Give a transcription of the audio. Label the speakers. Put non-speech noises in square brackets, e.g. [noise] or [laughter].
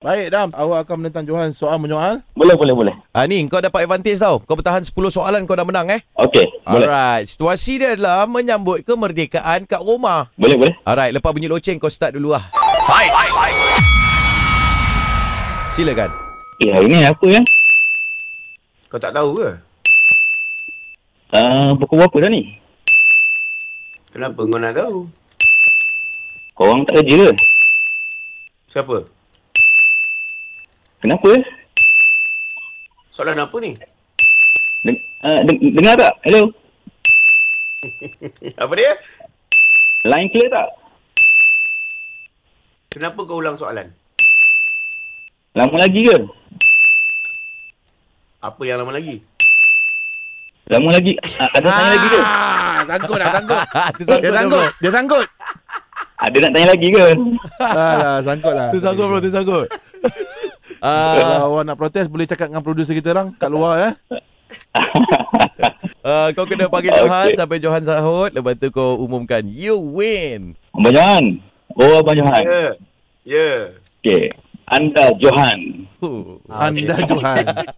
Speaker 1: Baik Dam, awak akan menentang Johan soal menyoal.
Speaker 2: Boleh, boleh, boleh.
Speaker 3: Ah ni kau dapat advantage tau. Kau bertahan 10 soalan kau dah menang eh.
Speaker 2: Okey, boleh.
Speaker 3: Alright, situasi dia adalah menyambut kemerdekaan kat Roma.
Speaker 2: Boleh, boleh.
Speaker 3: Alright, lepas bunyi loceng kau start dulu lah.
Speaker 2: Fight.
Speaker 3: Silakan.
Speaker 2: Ya, ini apa ya?
Speaker 4: Kau tak tahu ke?
Speaker 2: Uh, pukul berapa dah ni?
Speaker 4: Kenapa kau nak tahu?
Speaker 2: Korang tak kerja ke?
Speaker 4: Siapa?
Speaker 2: Kenapa ya?
Speaker 4: Soalan apa [laughs] ni?
Speaker 2: Deng- uh, deng- dengar tak? Hello?
Speaker 4: Apa dia?
Speaker 2: Line clear tak?
Speaker 4: Kenapa kau ulang soalan?
Speaker 2: Lama lagi ke?
Speaker 4: Apa yang lama lagi?
Speaker 2: Lama lagi? Uh, ada tanya lagi ke?
Speaker 1: Ah, sangkut dah, sangkut.
Speaker 3: [laughs] tu sangkut.
Speaker 1: Dia sangkut, dia sangkut.
Speaker 2: Ada nak tanya lagi ke?
Speaker 1: Alah, sangkut lah.
Speaker 3: Tu sangkut bro, tu
Speaker 1: [laughs]
Speaker 3: sangkut. Ah,
Speaker 1: Kalau awak nak protes, boleh cakap dengan producer kita orang kat luar eh.
Speaker 3: ah, kau kena panggil
Speaker 2: Okay.
Speaker 3: Johan sampai Johan sahut, lepas tu kau umumkan you win.
Speaker 2: Abang Johan. Oh, Abang
Speaker 4: Ya.
Speaker 2: Johan.
Speaker 4: Yeah. Ya. Yeah.
Speaker 2: Okey. Anda Johan.
Speaker 3: Huh.
Speaker 1: Anda Johan.